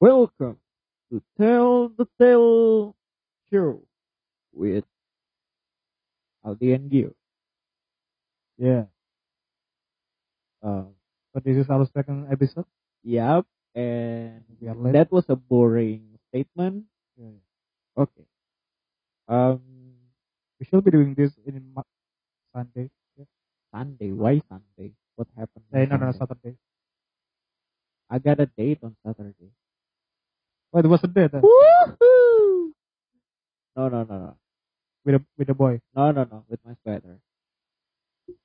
Welcome to Tell the Tale Show with Aldi and Gio. Yeah. Uh, So this is our second episode. yep, and We are late. that was a boring statement. Yeah, yeah. Okay. Um, We should be doing this in Mo- Sunday. Yeah. Sunday. Why Sunday? What happened? on Eh, no, no, no, Sunday? Saturday. I got a date on Saturday. Oh, it was a date uh, Woohoo! No, no, no, no, with a with a boy. no, no, no. With my sweater. It's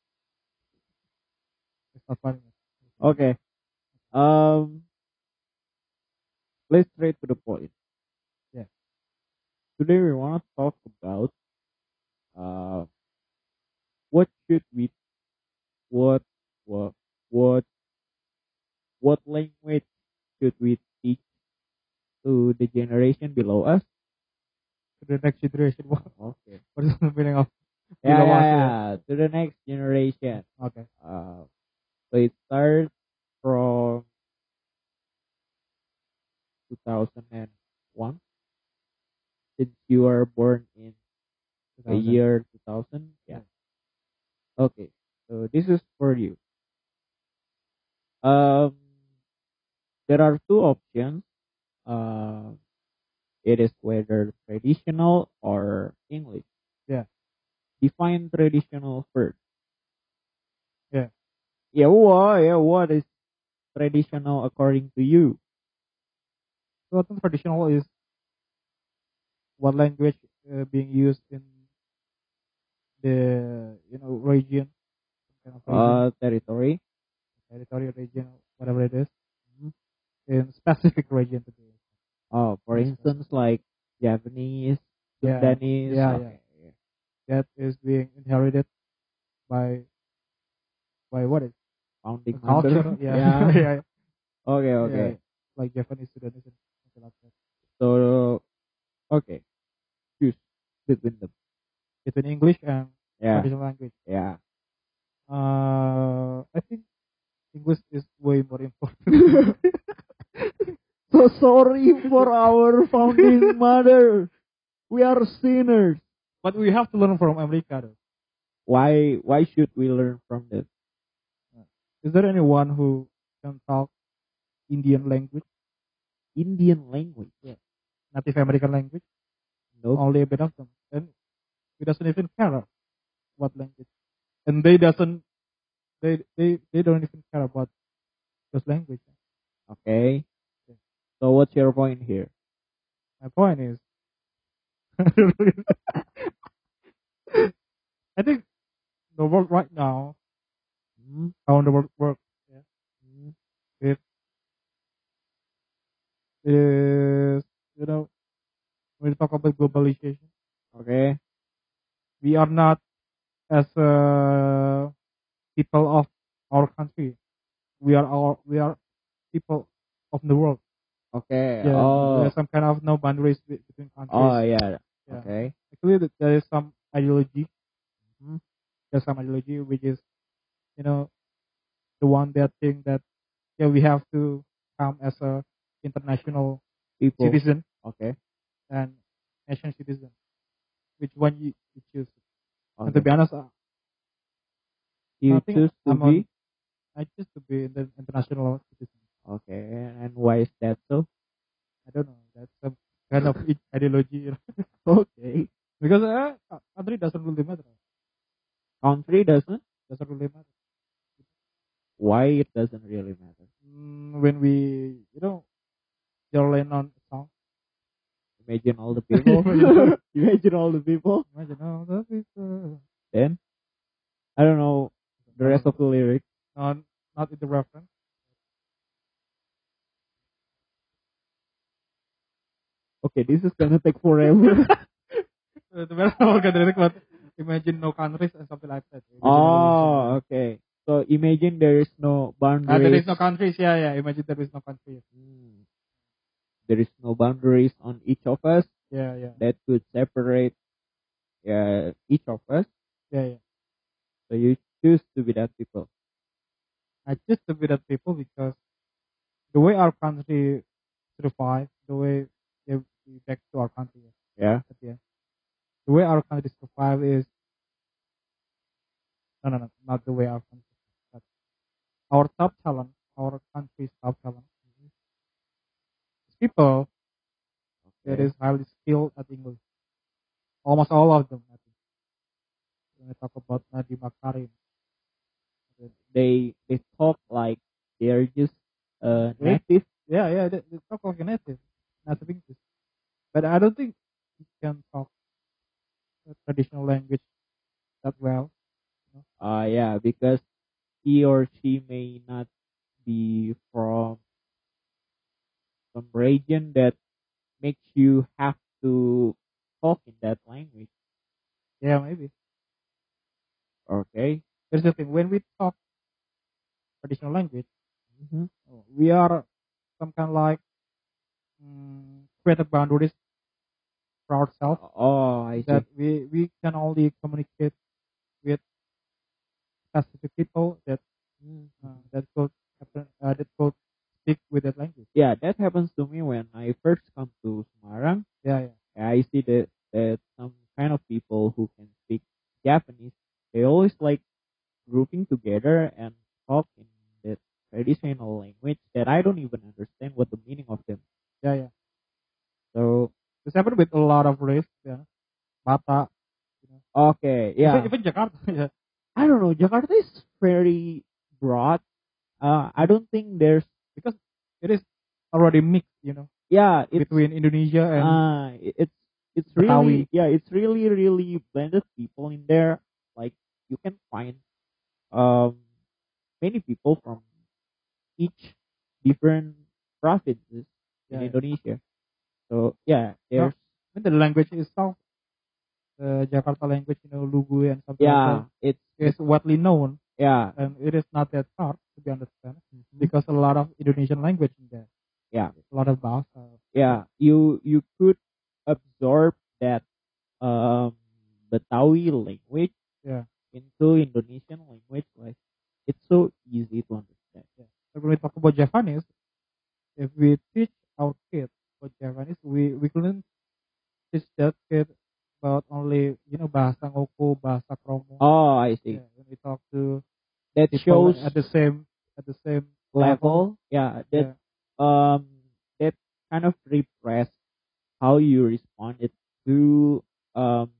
not funny. Okay. Um, let's straight to the point. Yeah. Today we want to talk about uh, what should we, what, what, what, what language should we teach to the generation below us? To the next generation. What Okay. what is the meaning of? Yeah, Below us, yeah, yeah. To the next generation. Okay. Uh, so it starts from 2001. Since you were born in the 2000. year 2000, yeah. Okay, so this is for you. Um, there are two options. Uh, it is whether traditional or English. Yeah. Define traditional first. Yeah. Yeah, what, yeah, what is traditional according to you? So I think traditional is what language uh, being used in the you know region, kind of region, Uh, territory. territorial region, whatever it is, Mhm. in specific region to be. Oh, for Yes, yes. instance, like Japanese, Yeah. Sundanese. Yeah, okay, yeah. that is being inherited by by what is Founding the culture? member. Yeah, yeah, yeah, Okay, okay. yeah. like Japanese Sudanese and something like that. So, okay. Choose between them. Between English and Yeah, traditional language, yeah. uh, I think English is way more important. So sorry for our founding mother. We are sinners. but we have to learn from America. Though. Why? Why should we learn from them? Is there anyone who can talk Indian language, Indian language? Native American language? No. Only a bit of them, and he doesn't even care what language, and they doesn't they they they don't even care about those language. Okay. Oh. Yeah. So what's your point here? My point is, I think the world right now, Hmm? how the world works, Hmm? is you know when we talk about globalization, Okay. we are not as uh, people of our country, we are our we are people of the world. Okay. yeah, oh. there's some kind of no boundaries be- between countries. Oh yeah. Yeah. Okay. Actually, th- there is some ideology. Mhm. There's some ideology which is, you know, the one that thing that yeah we have to come as a international People. citizen Okay. and nation citizen. Which one you, you choose? And to okay. be honest, I, I You think choose to I'm be. on, I choose to be the international citizen. Okay. And why is that so? I don't know. That's some kind of i- ideology. You know? Okay. Because uh, country doesn't really matter. Country doesn't. Doesn't really matter. Why it doesn't really matter? mm, when we you know John Lennon song Imagine all the people. Yeah. Imagine all the people. imagine all the people Then I don't know the rest of the lyrics. not not in the reference Okay, this is gonna take forever. uh, the rest of the lyric, but imagine no countries and something like that Imagine all oh, okay. So imagine there is no the- ah, there boundaries. is no countries yeah yeah imagine there is no countries Hmm. There is no boundaries on each of us yeah yeah that could separate uh, each of us. yeah yeah So you choose to be that people. I choose to be that people because the way our country survive the way they we back to our country. Yeah. But yeah, the way our country survive is no, no, no, not the way our country. Survive. Our top talent, our country's top talent, is people that Okay. is highly skilled at English. Almost all of them. I think. When we talk about Nadiem Makarim, They they talk like they're just uh Right. native. Yeah, yeah, they, they talk like a native, native English. But I don't think he can talk a traditional language that well. Uh yeah, because he or she may not be from some region that makes you have to talk in that language. Yeah, maybe. Okay. Here's the thing: when we talk traditional language, we are some kind of like mm, create a boundaries for ourselves Oh, I see. that we we can only communicate with specific people that uh, that could happen, uh, that could speak with that language. yeah, that happens to me when I first come to Semarang. Yeah, yeah. I see that that some kind of people who can speak Japanese, they always like grouping together and talk in the traditional language that I don't even understand what the meaning of them. Yeah, yeah. So This happened with a lot of race, yeah. Bata, okay, yeah, even, even Jakarta, yeah. I don't know. Jakarta is very broad. Uh, I don't think there's Because it is already mixed, you know, yeah, it's between Indonesia and uh, it's it's Betawi. really yeah, it's really really blended people in there. Like you can find um many people from each different provinces yeah, in yeah. Indonesia. So yeah, there's Even the language itself, the Jakarta language, you know, Lugu and something yeah, like it's that, is widely known, yeah and it is not that hard to be understand because a lot of Indonesian language in there. Yeah. a lot of bahasa. yeah. You you could absorb that um Betawi language Yeah. into Indonesian language. Like it's so easy to understand. So when we talk about Japanese, if we teach our kids about Japanese, we we couldn't teach that kid about only you know bahasa ngoko, bahasa kromo. Oh, I see. Yeah, when we talk to That people shows at the same at the same level. Yeah, that yeah, um that kind of repressed how you responded to um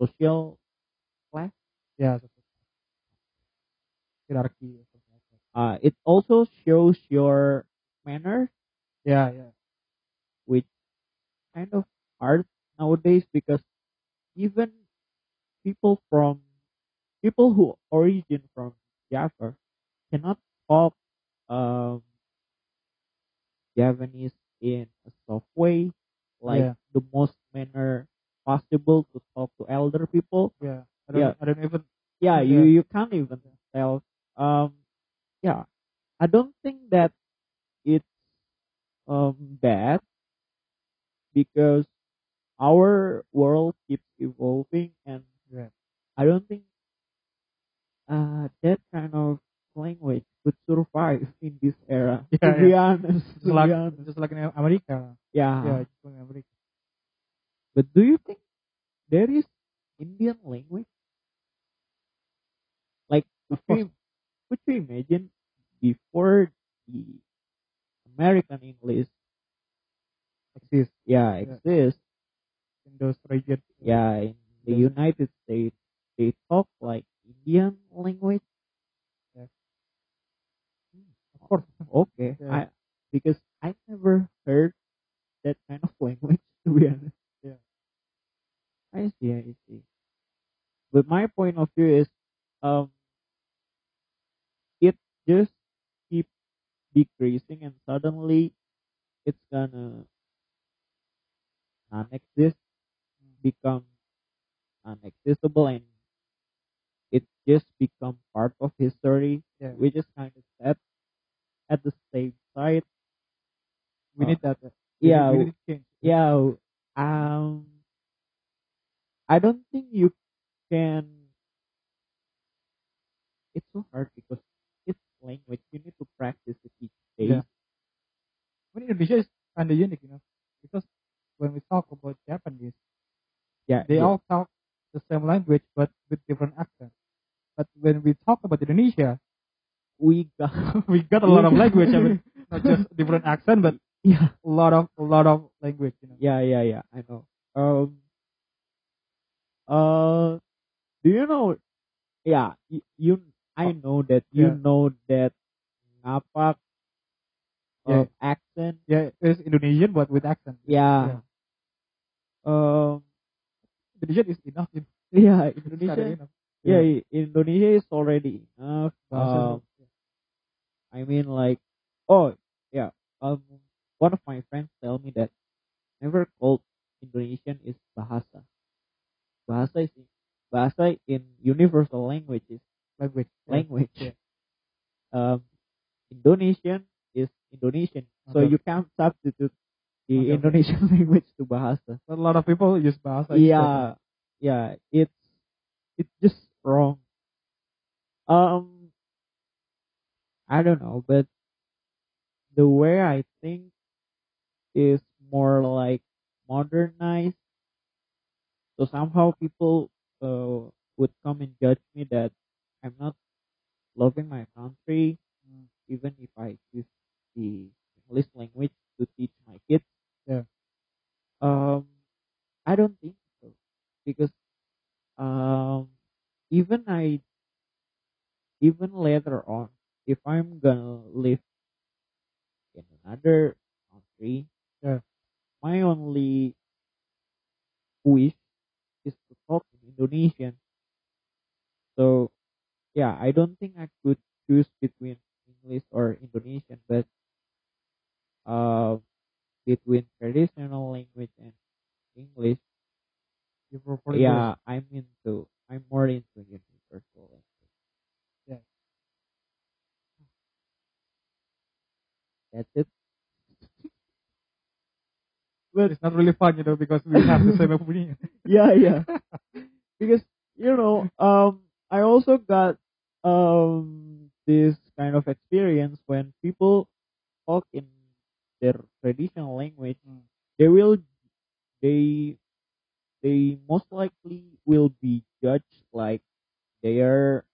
social yeah, so- hierarchy. or something like that. uh it also shows your manner Yeah, yeah, which kind of hard nowadays because even people from people who origin from Java cannot talk um Javanese in a soft way like Yeah. the most manner possible to talk to elder people yeah. I don't, Yeah. I don't even. yeah, you Yeah. you can't even tell. Um, yeah, I don't think that it's um bad because our world keeps evolving, and Yeah. I don't think uh that kind of language could survive in this era. Yeah, to be honest, to be Just like, honest. Ah. just like in America. yeah. Yeah, just like in America. But do you think there is Indian language? Like, could course. you, could you imagine before the American English, Exists yeah, Yeah. exists, in those regions. yeah, in the Yeah. United States, they talk like Indian language? Yeah. Of course. Okay. Yeah. I, because I never heard that kind of language, to be honest. I see, I see. But my point of view is, um, it just keep decreasing, and suddenly it's gonna non-exist, become inaccessible, and it just become part of history, Yeah, we, which is kind of sad. At the same side, we need that. We yeah, need- we need change. yeah um i don't think you can it's so hard because it's language you need to practice it each day Yeah. when Indonesia is kind of unique, you know, because when we talk about Japanese, Yeah, they yeah. all talk the same language but with different accents. But when we talk about Indonesia, we got we got a lot of language. I mean, not just different accent, but yeah, a lot of a lot of language. You know. yeah, yeah, yeah. I know. Um, uh, do you know? Yeah, you, you I know that you Oh, Yeah. know that napak uh, Yeah. accent. Yeah, it's Indonesian but with accent. Yeah. Um. Indonesian is enough. It's Yeah, kinda Indonesia. enough. Yeah, Indonesia is already enough. Um, Bahasa- I mean, like, oh, yeah. Um, one of my friends tell me that never called Indonesian is bahasa. Bahasa is bahasa in universal language is language. Yeah. language. Yeah. Um, Indonesian is Indonesian, so Okay. you can't substitute the Okay, okay. Indonesian language to bahasa. But a lot of people use bahasa. yeah, yeah, it's it's just wrong. Um, I don't know, but the way I think is more like modernized. So somehow people uh, would come and judge me that I'm not loving my country, Mm. even if I choose the English language to teach my kids. Yeah. Um, I don't think so because um, even I even later on, if I'm gonna live in another country, Yeah. my only wish is to talk in Indonesian. So, yeah, I don't think I could choose between English or Indonesian, but uh, between traditional language and English, You probably yeah, I'm into. I'm more into universal language. Yeah. That's it. Well, it's not really fun, you know, because we have the same opinion. Yeah, yeah. because you know, um, I also got um this kind of experience when people talk in their traditional language, Mm. they will, they, they most likely will be judged like they are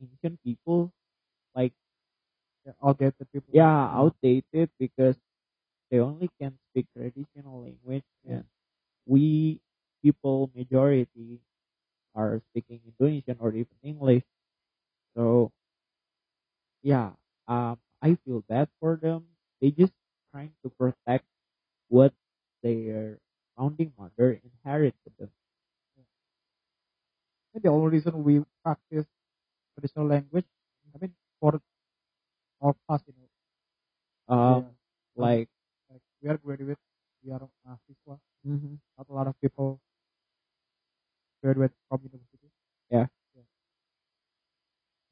ancient people, like Yeah, All the other people. yeah, outdated because they only can speak traditional language Yeah. and we people majority are speaking Indonesian or even English. So yeah, um I feel bad for them. They just trying to protect what their founding mother inherited them. And the only reason we practice traditional language, I mean, for our past, you know, Um yeah, Oh. like like we are graduates, we are mahasiswa. mhm, Not a lot of people graduate from university. Yeah. yeah.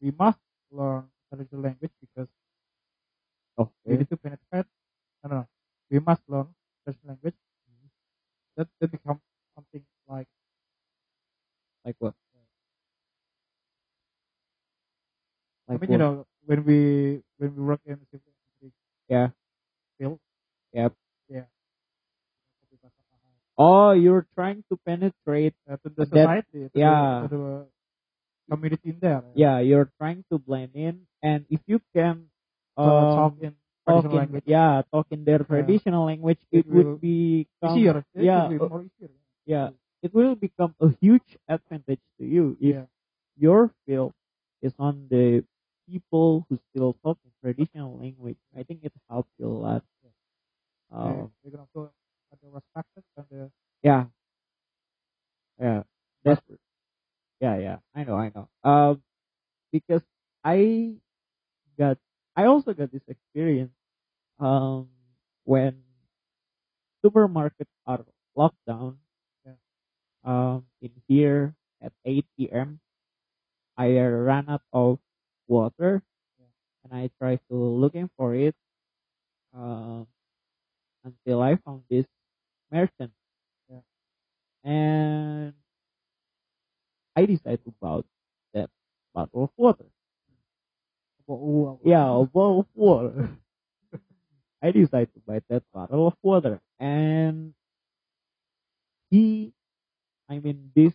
We must learn traditional language because oh, we need to penetrate. No, no, no. We must learn traditional language. That that becomes something like like what? I Like mean, what? you know, when we when we work in the civil engineering Yeah. field, Yep. yeah, to the Oh, you're trying to penetrate. uh, to the That- society, to yeah. the, to the community in there, Yeah, you're trying to blend in, and if you can uh, um, talk in talk traditional in- language, yeah, talk in their traditional language, it, It would will be easier, It will yeah, be uh, more easier, yeah, it will become a huge advantage to you if yeah, your field is on the people who still talk in traditional language. I think it helps you a lot. Um, they can also have the respect and the Yeah. Yeah. That's yeah, yeah. I know, I know. Um because I got I also got this experience um when supermarkets are locked down Yeah. um in here at eight PM I ran out of water Yeah. and I tried to looking for it um until I found this merchant and I decided to buy that bottle of water. oh, oh, oh. Yeah, a bottle of water. I decided to buy that bottle of water. And he, I mean, this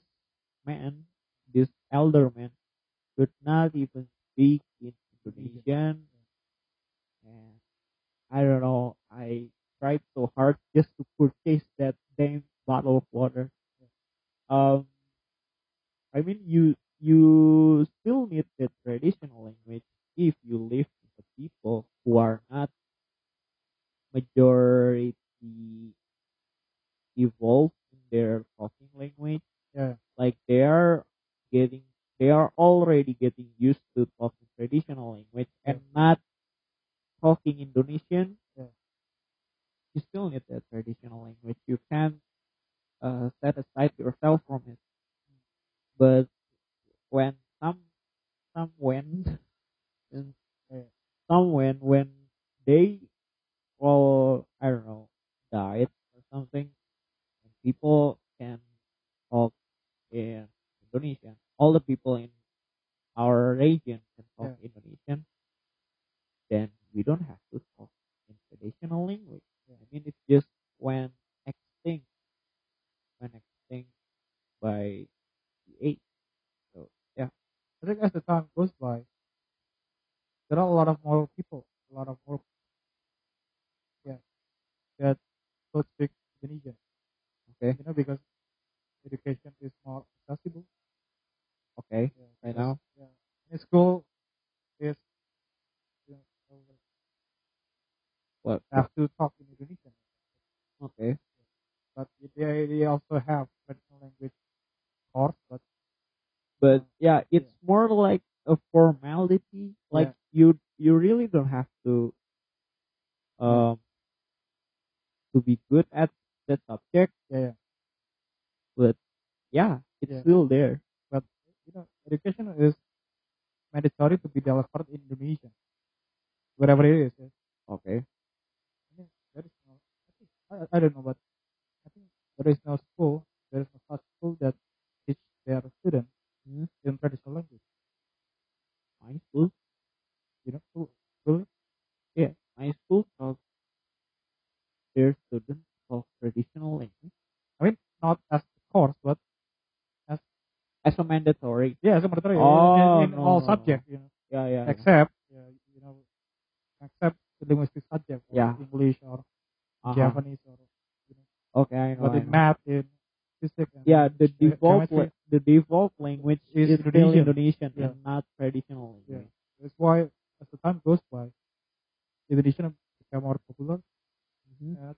man, this elder man, could not even speak in Indonesian. And I don't know, I tried so hard just to purchase that damn bottle of water. Um, I mean, you you still need the traditional language if you live with the people who are not majority evolved in their talking language. Yeah. Like they are getting, they are already getting used to talking traditional language and not talking Indonesian. Yeah. You still need that traditional language. You can uh, set aside yourself from it. But when some, some when, and Yeah. someone when they well, I don't know, diet or something, and people can talk in Indonesian. All the people in our region can talk Indonesian. Then we don't have to talk in traditional language. I mean, it's just when extinct, when extinct by the eight. oh. I think as the time goes by, there are a lot of more people, a lot of more, yeah, that don't speak Indonesian. Okay. You know, because education is more accessible. Okay, Yeah, right because- now. Yeah. In school, is you know, What? have to talk in Indonesian, Okay. but they, they also have traditional language course, but but Uh, yeah, it's Yeah. more like a formality. Like Yeah. you, you really don't have to, um, to be good at the subject. yeah, yeah. But yeah, it's Yeah. still there. But you know, education is mandatory to be delivered in Indonesia, wherever it is. Yeah. Okay. Yeah, there is no. I, think, I, I don't know, but I think there is no school, there is no such school that teach their students Hmm. in traditional language. My school, You know, who- really? my school taught their students of traditional language I mean, not as a course, but as a mandatory. yeah, as a mandatory in- Oh, in, in no, all no, no. subjects. You know, Yeah, yeah. yeah. except yeah, you know, except the linguistic subject, like Yeah. English or Uh-huh. Japanese or Okay, I know. but I in know. math, in physics, and Yeah, the chemistry- default la- the default language Is is, still Indonesian. Indonesian Yeah. and not traditional language. Yeah. That's why, as the time goes by, Indonesian become more popular. Mhm. And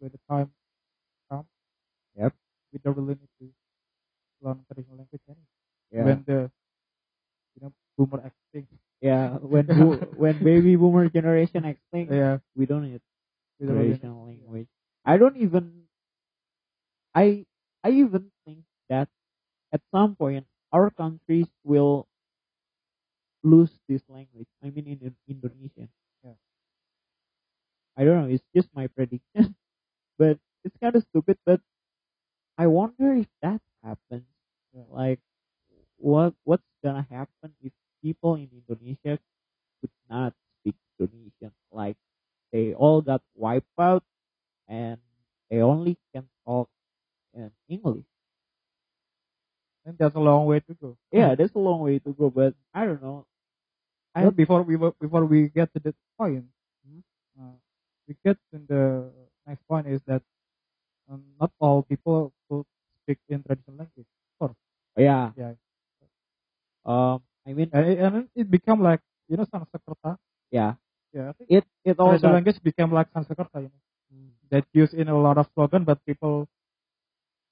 when the time comes, Yep. we don't really need to learn traditional language anymore. Yeah. When the you know boomer extinct, Yeah, when bo- when baby boomer generation extinct, yeah, we don't need we don't really traditional language. I don't even. I I even think that at some point our countries will lose this language. I mean, in in Indonesian. Yeah. I don't know. It's just my prediction, but it's kind of stupid. But I wonder if that happens. Yeah. Like, what what's gonna happen if people in Indonesia could not speak Indonesian? Like, they all got wiped out, and they only can talk in English. And that's a long way to go. Yeah, that's a long way to go. But I don't know. I hope before we wo- before we get to that point, Hmm? uh, we get to the next point is that um, not all people who speak in traditional language. Yeah. Yeah, Um. I mean, and it, and it become like you know Sanskerta. yeah. Yeah, I think It it all traditional got, language became like Sanskerta. You know, that used in a lot of slogan, but people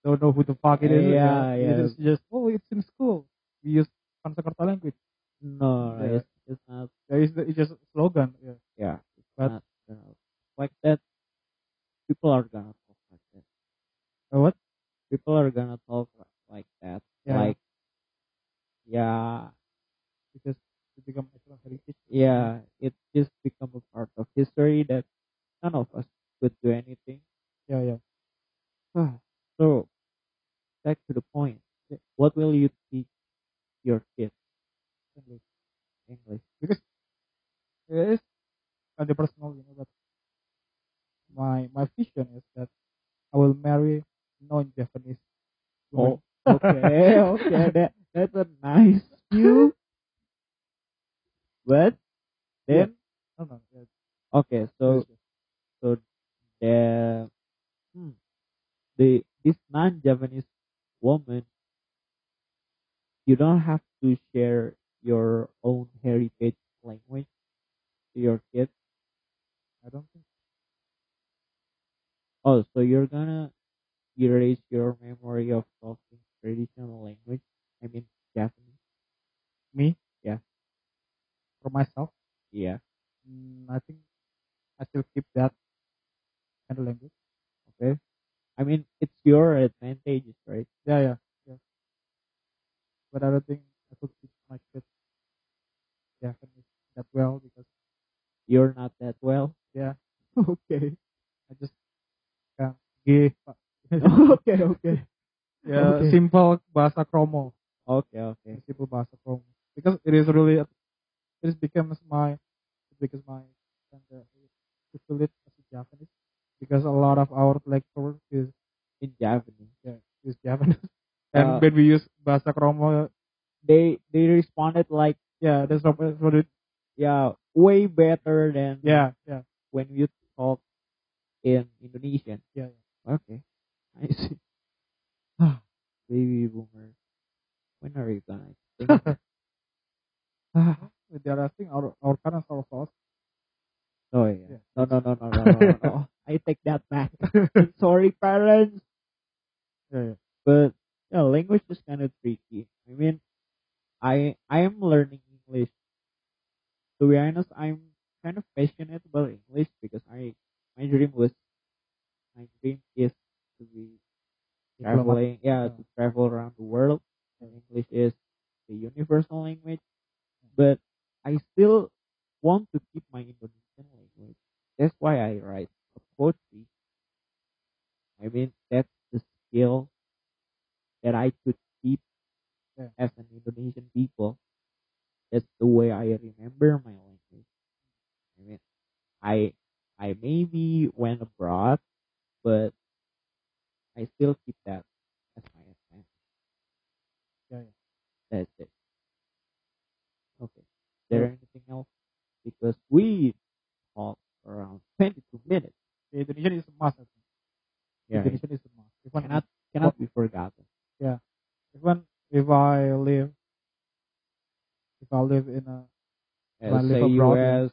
don't know who the fuck it is. you Yeah, know. yeah. It is just oh, it's in school. We use Sanskerta language. no, Yeah. it's, it's not. There is the, it's just slogan. Yeah. Yeah. It's not But- gonna- like that. People are gonna talk like that. Uh, what? People are gonna talk li- like that. Yeah. Like, yeah, Because it become national heritage. yeah. It just become a part of history that none of us could do anything. Yeah, yeah. so, back to the point. What will you teach your kids English. English? Yes, other personal, you know, but my my vision is that I will marry non-Japanese. woman. Oh, okay, okay. That that's a nice view. But then, no, no, yeah, okay, so so the hmm, the this non-Japanese woman, you don't have to share your own heritage language to your kids. I don't think. Oh, so you're gonna erase your memory of talking traditional language. I mean Japanese. Me? Yeah. For myself, Yeah. mm, I think I still keep that kind of language. Okay. I mean it's your advantages, right? Yeah, yeah, yeah. But I don't think I could teach my kids Japanese that well because You're not that well. yeah, Okay. I just can't give. okay, okay. Yeah, Okay. simple bahasa kromo. Okay, okay. Simple bahasa kromo. Because it is really, it is becomes my, it becomes my, and uh, to feel it as a Japanese. Because a lot of our lecturers is In Japanese. yeah, is Japanese. Uh, And when we use bahasa kromo, They they responded like yeah, that's what, that's what it, yeah, way better than yeah, yeah, when you talk in Indonesian. yeah, yeah. Okay. I see. Baby boomer. When are you gonna think? they are asking our our parents are false. Oh yeah. Yeah. No, no, no, no, no, no, no, no. I take that back. I'm sorry, parents. Yeah, yeah. But yeah, language is kind of tricky. I mean, I I am learning English. To be honest, I'm kind of passionate about English because I my dream was my dream is to be Diplomat. traveling, yeah, Yeah. to travel around the world. And English is the universal language, but I still want to keep my Indonesian language. That's why I write a poetry. I mean, that's the skill that I could keep Yeah. as an Indonesian people. That's the way I remember my language. I mean, I I maybe went abroad, but I still keep that as my advantage. Yeah, That's it. Okay. Is there anything else? Because we talked around 22 minutes. The Indonesian is a must. I think. It Indonesian is a must. If one cannot, cannot be forgotten. if one if I live if I live in a If I Uh, live say abroad, yeah. US,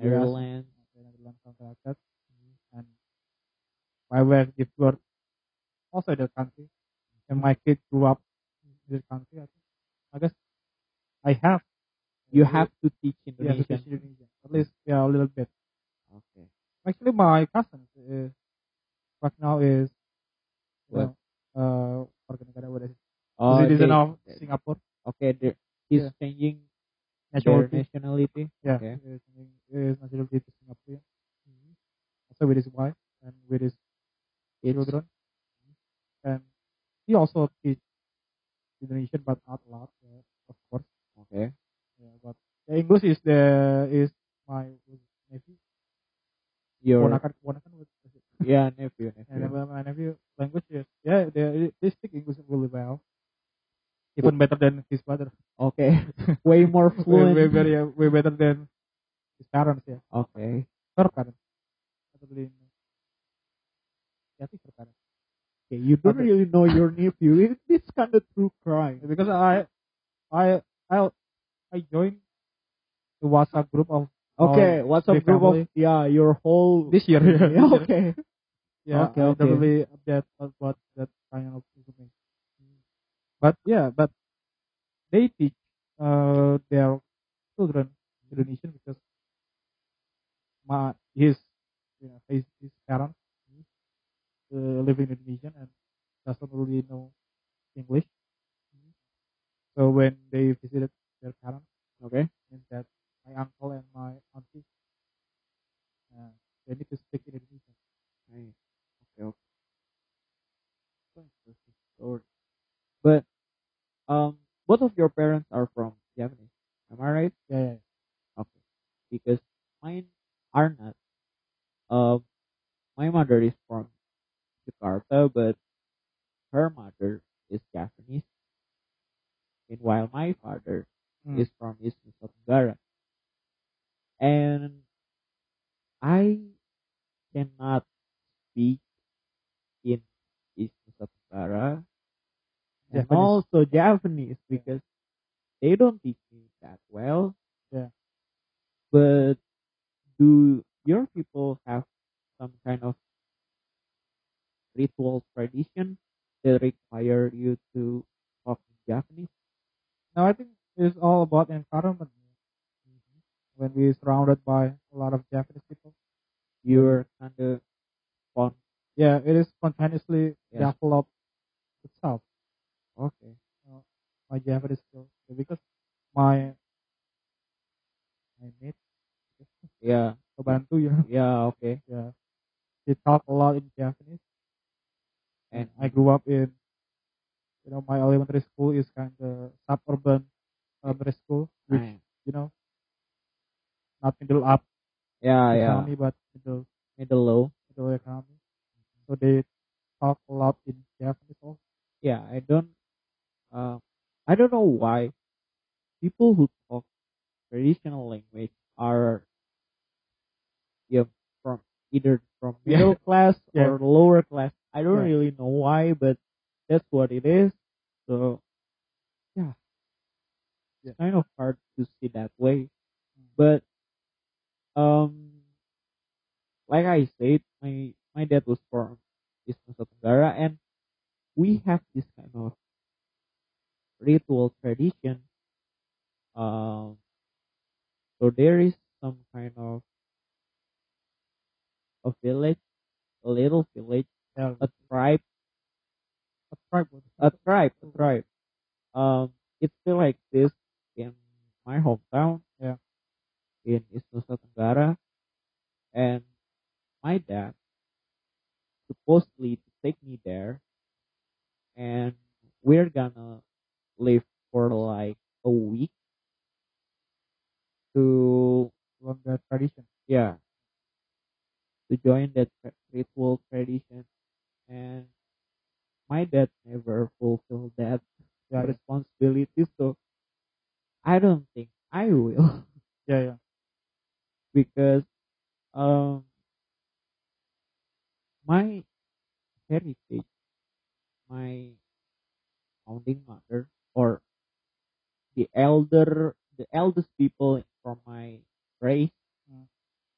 Ireland, in a land something like that, and I were give birth also in the country, and my kid grew up in the country, I think. I guess I have you have to teach yeah, to Indonesian. teach Indonesian at least yeah a little bit. Okay. Actually, my cousin is right now is you What? know, uh, warga negara what is it? Oh, they- citizen of they- Singapore Okay, they're- he's Yeah. changing their nationality. nationality. Yeah, Okay. is, is nationality to Singapore. Hmm. Also with his wife and with his It's, children. Hmm. And he also teach Indonesian, but not a lot, yeah, of course. okay. Yeah, but the English is the is my nephew. Your, Ponakan, ponakan was- was it? yeah, nephew, And nephew. my- my nephew language is yeah, they they speak English really well, even better than his father. Okay. Way more Way, way, fluent. very, uh, way better than his parents ya. Okay. Her parents. Atau beli ini. Ya sih her parents. Okay, you don't Okay. really know your nephew. It, it's kind of true crime. Because I, I, I, I joined the WhatsApp group of Okay, Oh, what's up, big group family. of yeah, your whole this year. yeah, okay, yeah, Okay, I okay. definitely update about that kind of information. But yeah, but they teach uh, their children Indonesian because my his you know, his his parents uh, live in Indonesian and doesn't really know English. So when they visited their parents, okay, means that my uncle and my auntie uh, they need to speak Indonesian. Nice. okay, okay. Quite interesting story. But um, both of your parents are from Japanese. Am I right? Yeah, yeah, Okay, because mine are Um, my mother is from Jakarta, but her mother is Japanese. Meanwhile, my father Hmm. is from East Nusa Tenggara. And I cannot speak in East Nusa Tenggara and Japanese. also Japanese because they don't teach me that well. Yeah. But do your people have some kind of ritual tradition that require you to talk in Japanese? Now I think it's all about environment. When we surrounded by a lot of Japanese people, You're kind of on. yeah, it is spontaneously Yes. developed itself Okay. my Japanese skill because my my mate Yeah. kebantu ya, Yeah. Okay. yeah, she talk a lot in Japanese. And I grew up in, you know, my elementary school is kind of suburban elementary school, which I- you know, not middle up yeah. Ah, Yeah. economy, but middle Middle low. middle economy. So they talk a lot in Japanese. Also. yeah i don't uh, i don't know why people who talk traditional language are yeah from either from Yeah. middle class Yeah. or lower class i don't Yeah. really know why but that's what it is so yeah Yeah. Mm. it's kind of hard to see that way but um like i said my my dad was from East Nusa Tenggara and we have this kind of ritual tradition. Um, so there is some kind of a village, a little village, Yeah, a tribe, a tribe was- a tribe, a tribe. Um, it's still like this in my hometown. Yeah. In East Nusa Tenggara, and my dad supposedly to take me there, and we're gonna live for like a week to from the tradition. yeah to join that tra- ritual tradition and my dad never fulfilled that Yeah, yeah, responsibility so i don't think i will yeah, yeah. because um my heritage my founding mother or the elder the eldest people from my race Hmm.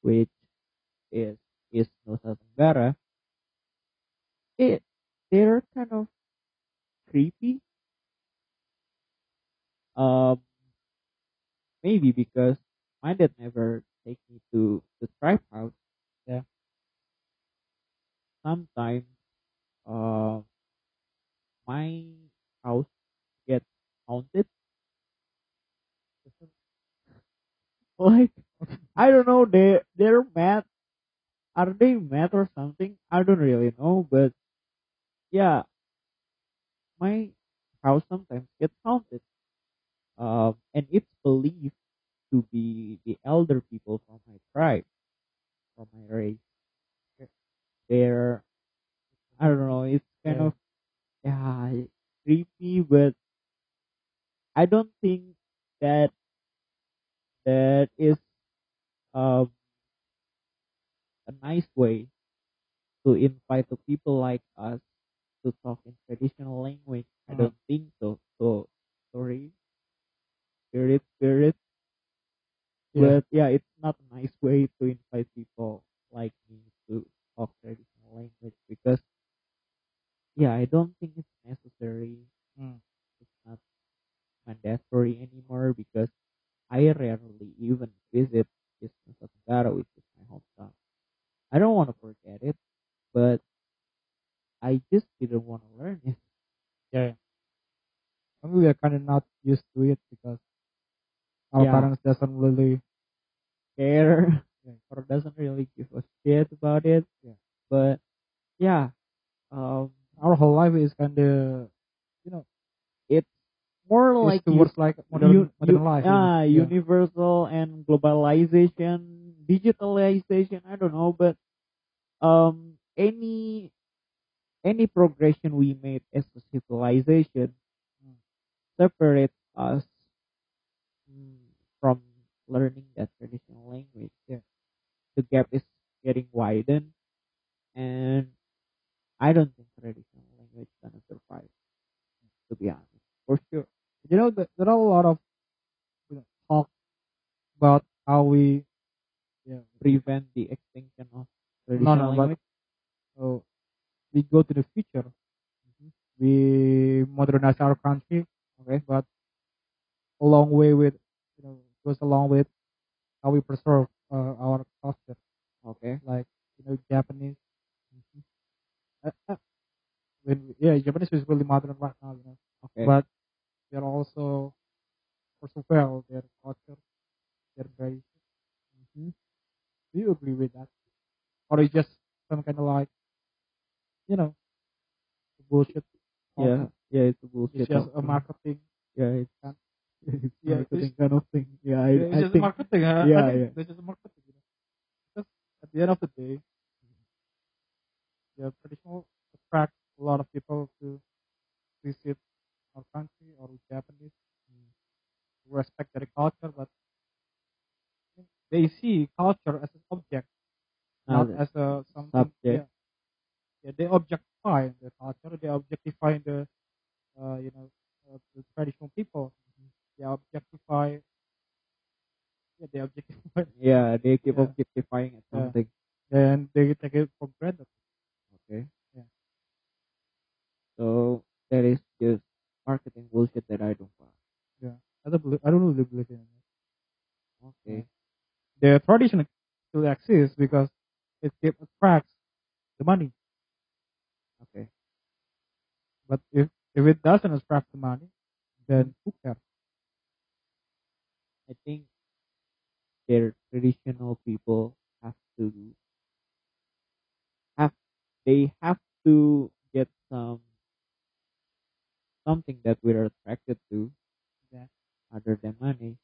which is is Nusa Tenggara it eh, they're kind of creepy um maybe because my dad never take me to the tribe house Yeah. sometimes uh my house gets haunted like I don't know they they're mad are they mad or something I don't really know but yeah my house sometimes gets haunted um and it's believed to be the elder people from my tribe from my race they're I don't know it's kind Yeah. of yeah creepy but I don't think that that is um, a nice way to invite the people like us to talk in traditional language. I Mm. don't think so. So sorry, spirit, spirit. Yeah. But yeah, it's not a nice way to invite people like me to talk traditional language because yeah, I don't think it's necessary Mm. it's not mandatory anymore because I rarely even visit this Nusa Tenggara, which is my hometown. I don't want to forget it, but I just didn't want to learn it. Yeah. I mean, we are kind of not used to it because our Yeah. parents doesn't really. Care Yeah. or doesn't really give a shit about it. Yeah. But yeah, um, Our whole life is kind of it's more like Oh, like towards like modern you- modern you- life. ah, yeah. universal and globalization, digitalization. I don't know, but um any any progression we made as a civilization Hmm. separates us from learning that traditional language. Yeah. The gap is getting widened, and I don't think traditional language is gonna survive. To be honest, for sure. you know, th- there are a lot of you know, talk about how we, yeah, Prevent the extinction of no, traditional no, language. but so we go to the future, Mm-hmm. we modernize our country, Okay. but along way with, you know, goes along with how we preserve uh, our culture, Okay. like you know, Japanese. Uh, uh, when yeah, Japanese is really modern right now, you know. Okay. but they're also persevere their culture, their very. Do you agree with that, or it's just some kind of like, you know, bullshit? of- yeah. Yeah. It's a bullshit. it's just a of- marketing. Yeah. It's, Kan? it's Yeah, marketing it's- kind of thing. Yeah. I, it's I just think. marketing. huh? Yeah, I think yeah. It's just marketing. You know? Because at the end of the day, yeah, traditional attracts a lot of people to visit our country or Japanese, who respect their culture, but they see culture as an object, now not that- as a something. Subject. Yeah. yeah, they objectify the culture. They objectify the, uh, you know, uh, the traditional people. They objectify. Yeah, they objectify, yeah. They keep Yeah. objectifying at Yeah. something. and they take it for granted. Okay. Yeah. So that is just marketing bullshit that I don't want. I don't believe. I don't really believe in it. Okay. The tradition still exists because it keep attracts the money. Okay. But if if it doesn't attract the money, then who cares? I think their traditional people have to have they have to get some something that we're attracted to Yeah. other than money.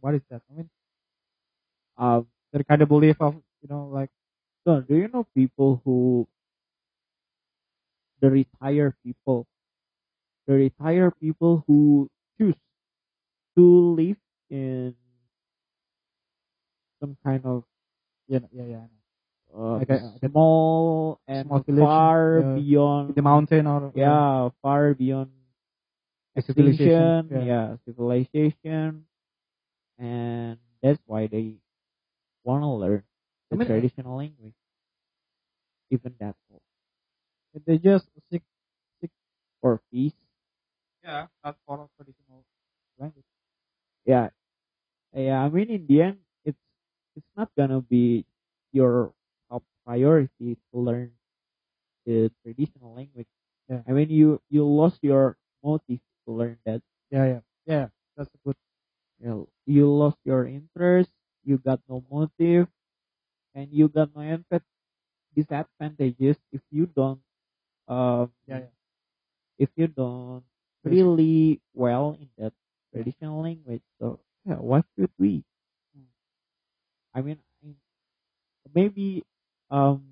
What is that? I mean, Um their kind of belief of you know like so do you know people who the retired people the retired people who choose to live in some kind of yeah yeah yeah. I know. uh, Like a- like a small and small village, far yeah. beyond the mountain or yeah far beyond uh, civilization yeah. Yeah. civilization and that's why they want to learn the I mean, traditional language even that for- They just seek for peace yeah, not for traditional language. yeah yeah i mean in the end it's it's not gonna be your top priority to learn the traditional language Yeah. i mean you you lost your motive to learn that Yeah, yeah, yeah. That's a good. you know, you lost your interest, you got no motive, and you got no advan- disadvantages if you don't, um, Yeah, yeah. if you don't Yes. really well in that traditional language. So, yeah, what should we? Hmm. I mean, I- maybe, um,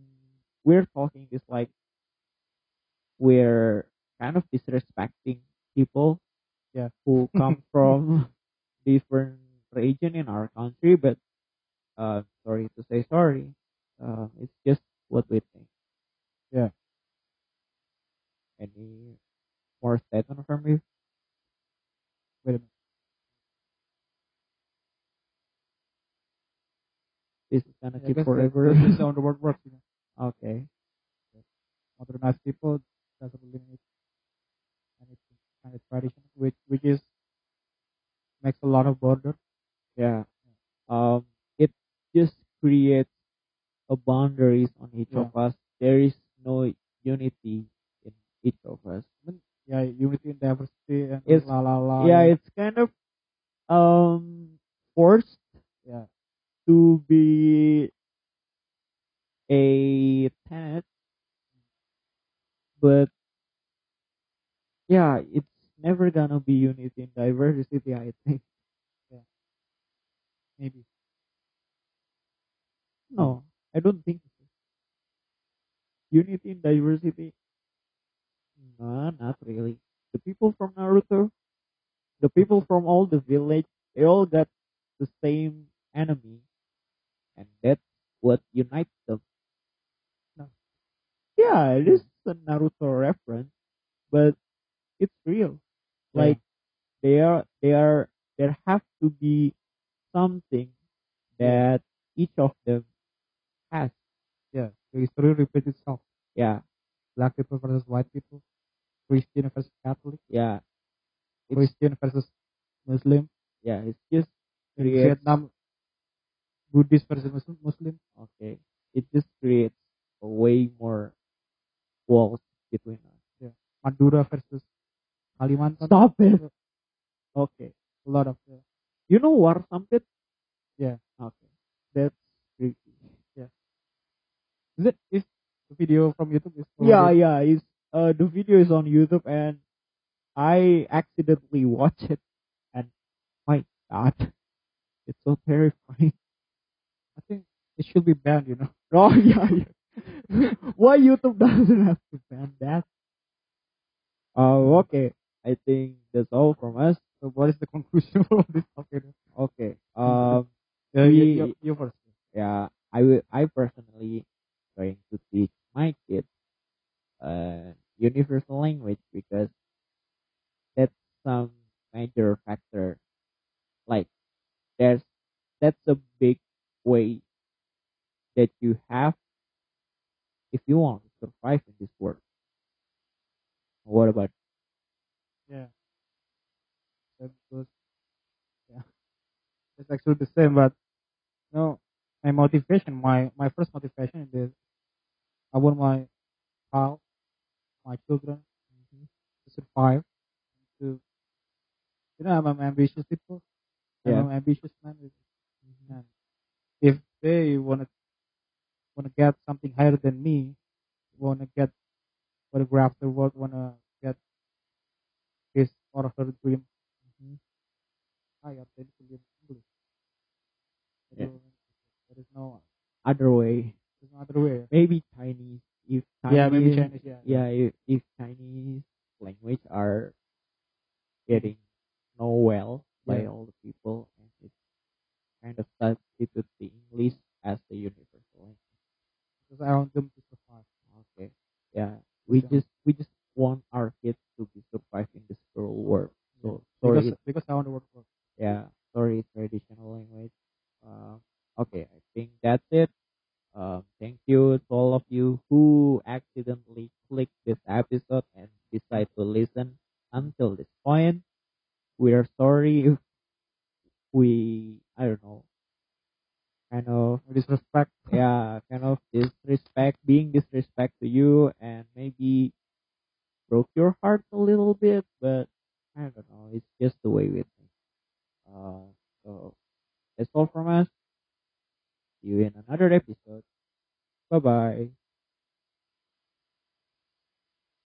we're talking this like we're kind of disrespecting people Yeah. who come from different region in our country but uh sorry to say sorry uh, it's just what we think Yeah. any more statement from you Wait a minute. this is gonna Yeah, keep because the- forever This is how the world works. You know, okay modernized people doesn't believe in it, and it's kind of tradition, which which is makes a lot of border. yeah um it just creates a boundaries on each Yeah. of us there is no unity in each of us Yeah, unity and diversity and It's- la la la. yeah it's kind of um forced yeah, to be a tenant, but yeah, it's never gonna be unity and diversity. I think maybe. No, I don't think so. Unity in diversity? No, not really. The people from Naruto, the people from all the village, they all got the same enemy, and that's what unites them. No. Hmm. Yeah, it is a Naruto reference, but it's real. Yeah. Like they are, they are, there have to be something that each of them has. yeah, the history repeats itself. Yeah, Black people versus white people, Christian versus Catholic, yeah, It's- Christian versus Muslim, yeah. It's just in creates- Vietnam, Buddhist versus Muslim, Muslim. okay. It just creates a way more walls between us. Madura versus Kalimantan. Stop it. Okay. A lot of yeah. You know war trumpet? Yeah. Okay. That's creepy. Is it is the video from YouTube is Yeah, yeah. It's, uh, the video is on YouTube, and I accidentally watch it, and my God, it's so terrifying. I think it should be banned, you know. Oh yeah, yeah. Why YouTube doesn't have to ban that? Uh, okay. I think that's all from us. So what is the conclusion for all this stuff, you know? Okay. Um. Yeah, We- you, you, you first. yeah, I will. I personally trying to teach my kids uh universal language because that's some major factor. Like there's that's a big way that you have if you want to survive in this world. What about Yeah. That's good. Yeah. It's actually the same, but you know, my motivation, my my first motivation is I want my child, my children to survive. To you know, I'm an ambitious people. Yeah. I'm an ambitious man. And if they wanna wanna get something higher than me, wanna get wanna go after what wanna get his or her dream. I got to in English. Mm-hmm. Yeah. There is no other way? there's no other way. Maybe Chinese. If Chinese, yeah, maybe Chinese. Yeah. yeah, if, if Chinese language are getting known well by Yeah. all the people, and it's kind of substitute the English as the universal language. Because I want them to survive. Okay, yeah, we Yeah. just we just want our kids to be survive in this cruel world. So sorry, Because, it- because I want to work for. yeah, sorry, traditional language. Um, okay, I think that's it. Um, thank you to all of you who accidentally clicked this episode and decide to listen until this point. We are sorry if we, I don't know, kind of, Disrespect. yeah, kind of disrespect, being disrespect to you and maybe broke your heart a little bit, but I don't know, it's just the way we think. Uh, so that's all from us. See you in another episode. Bye bye.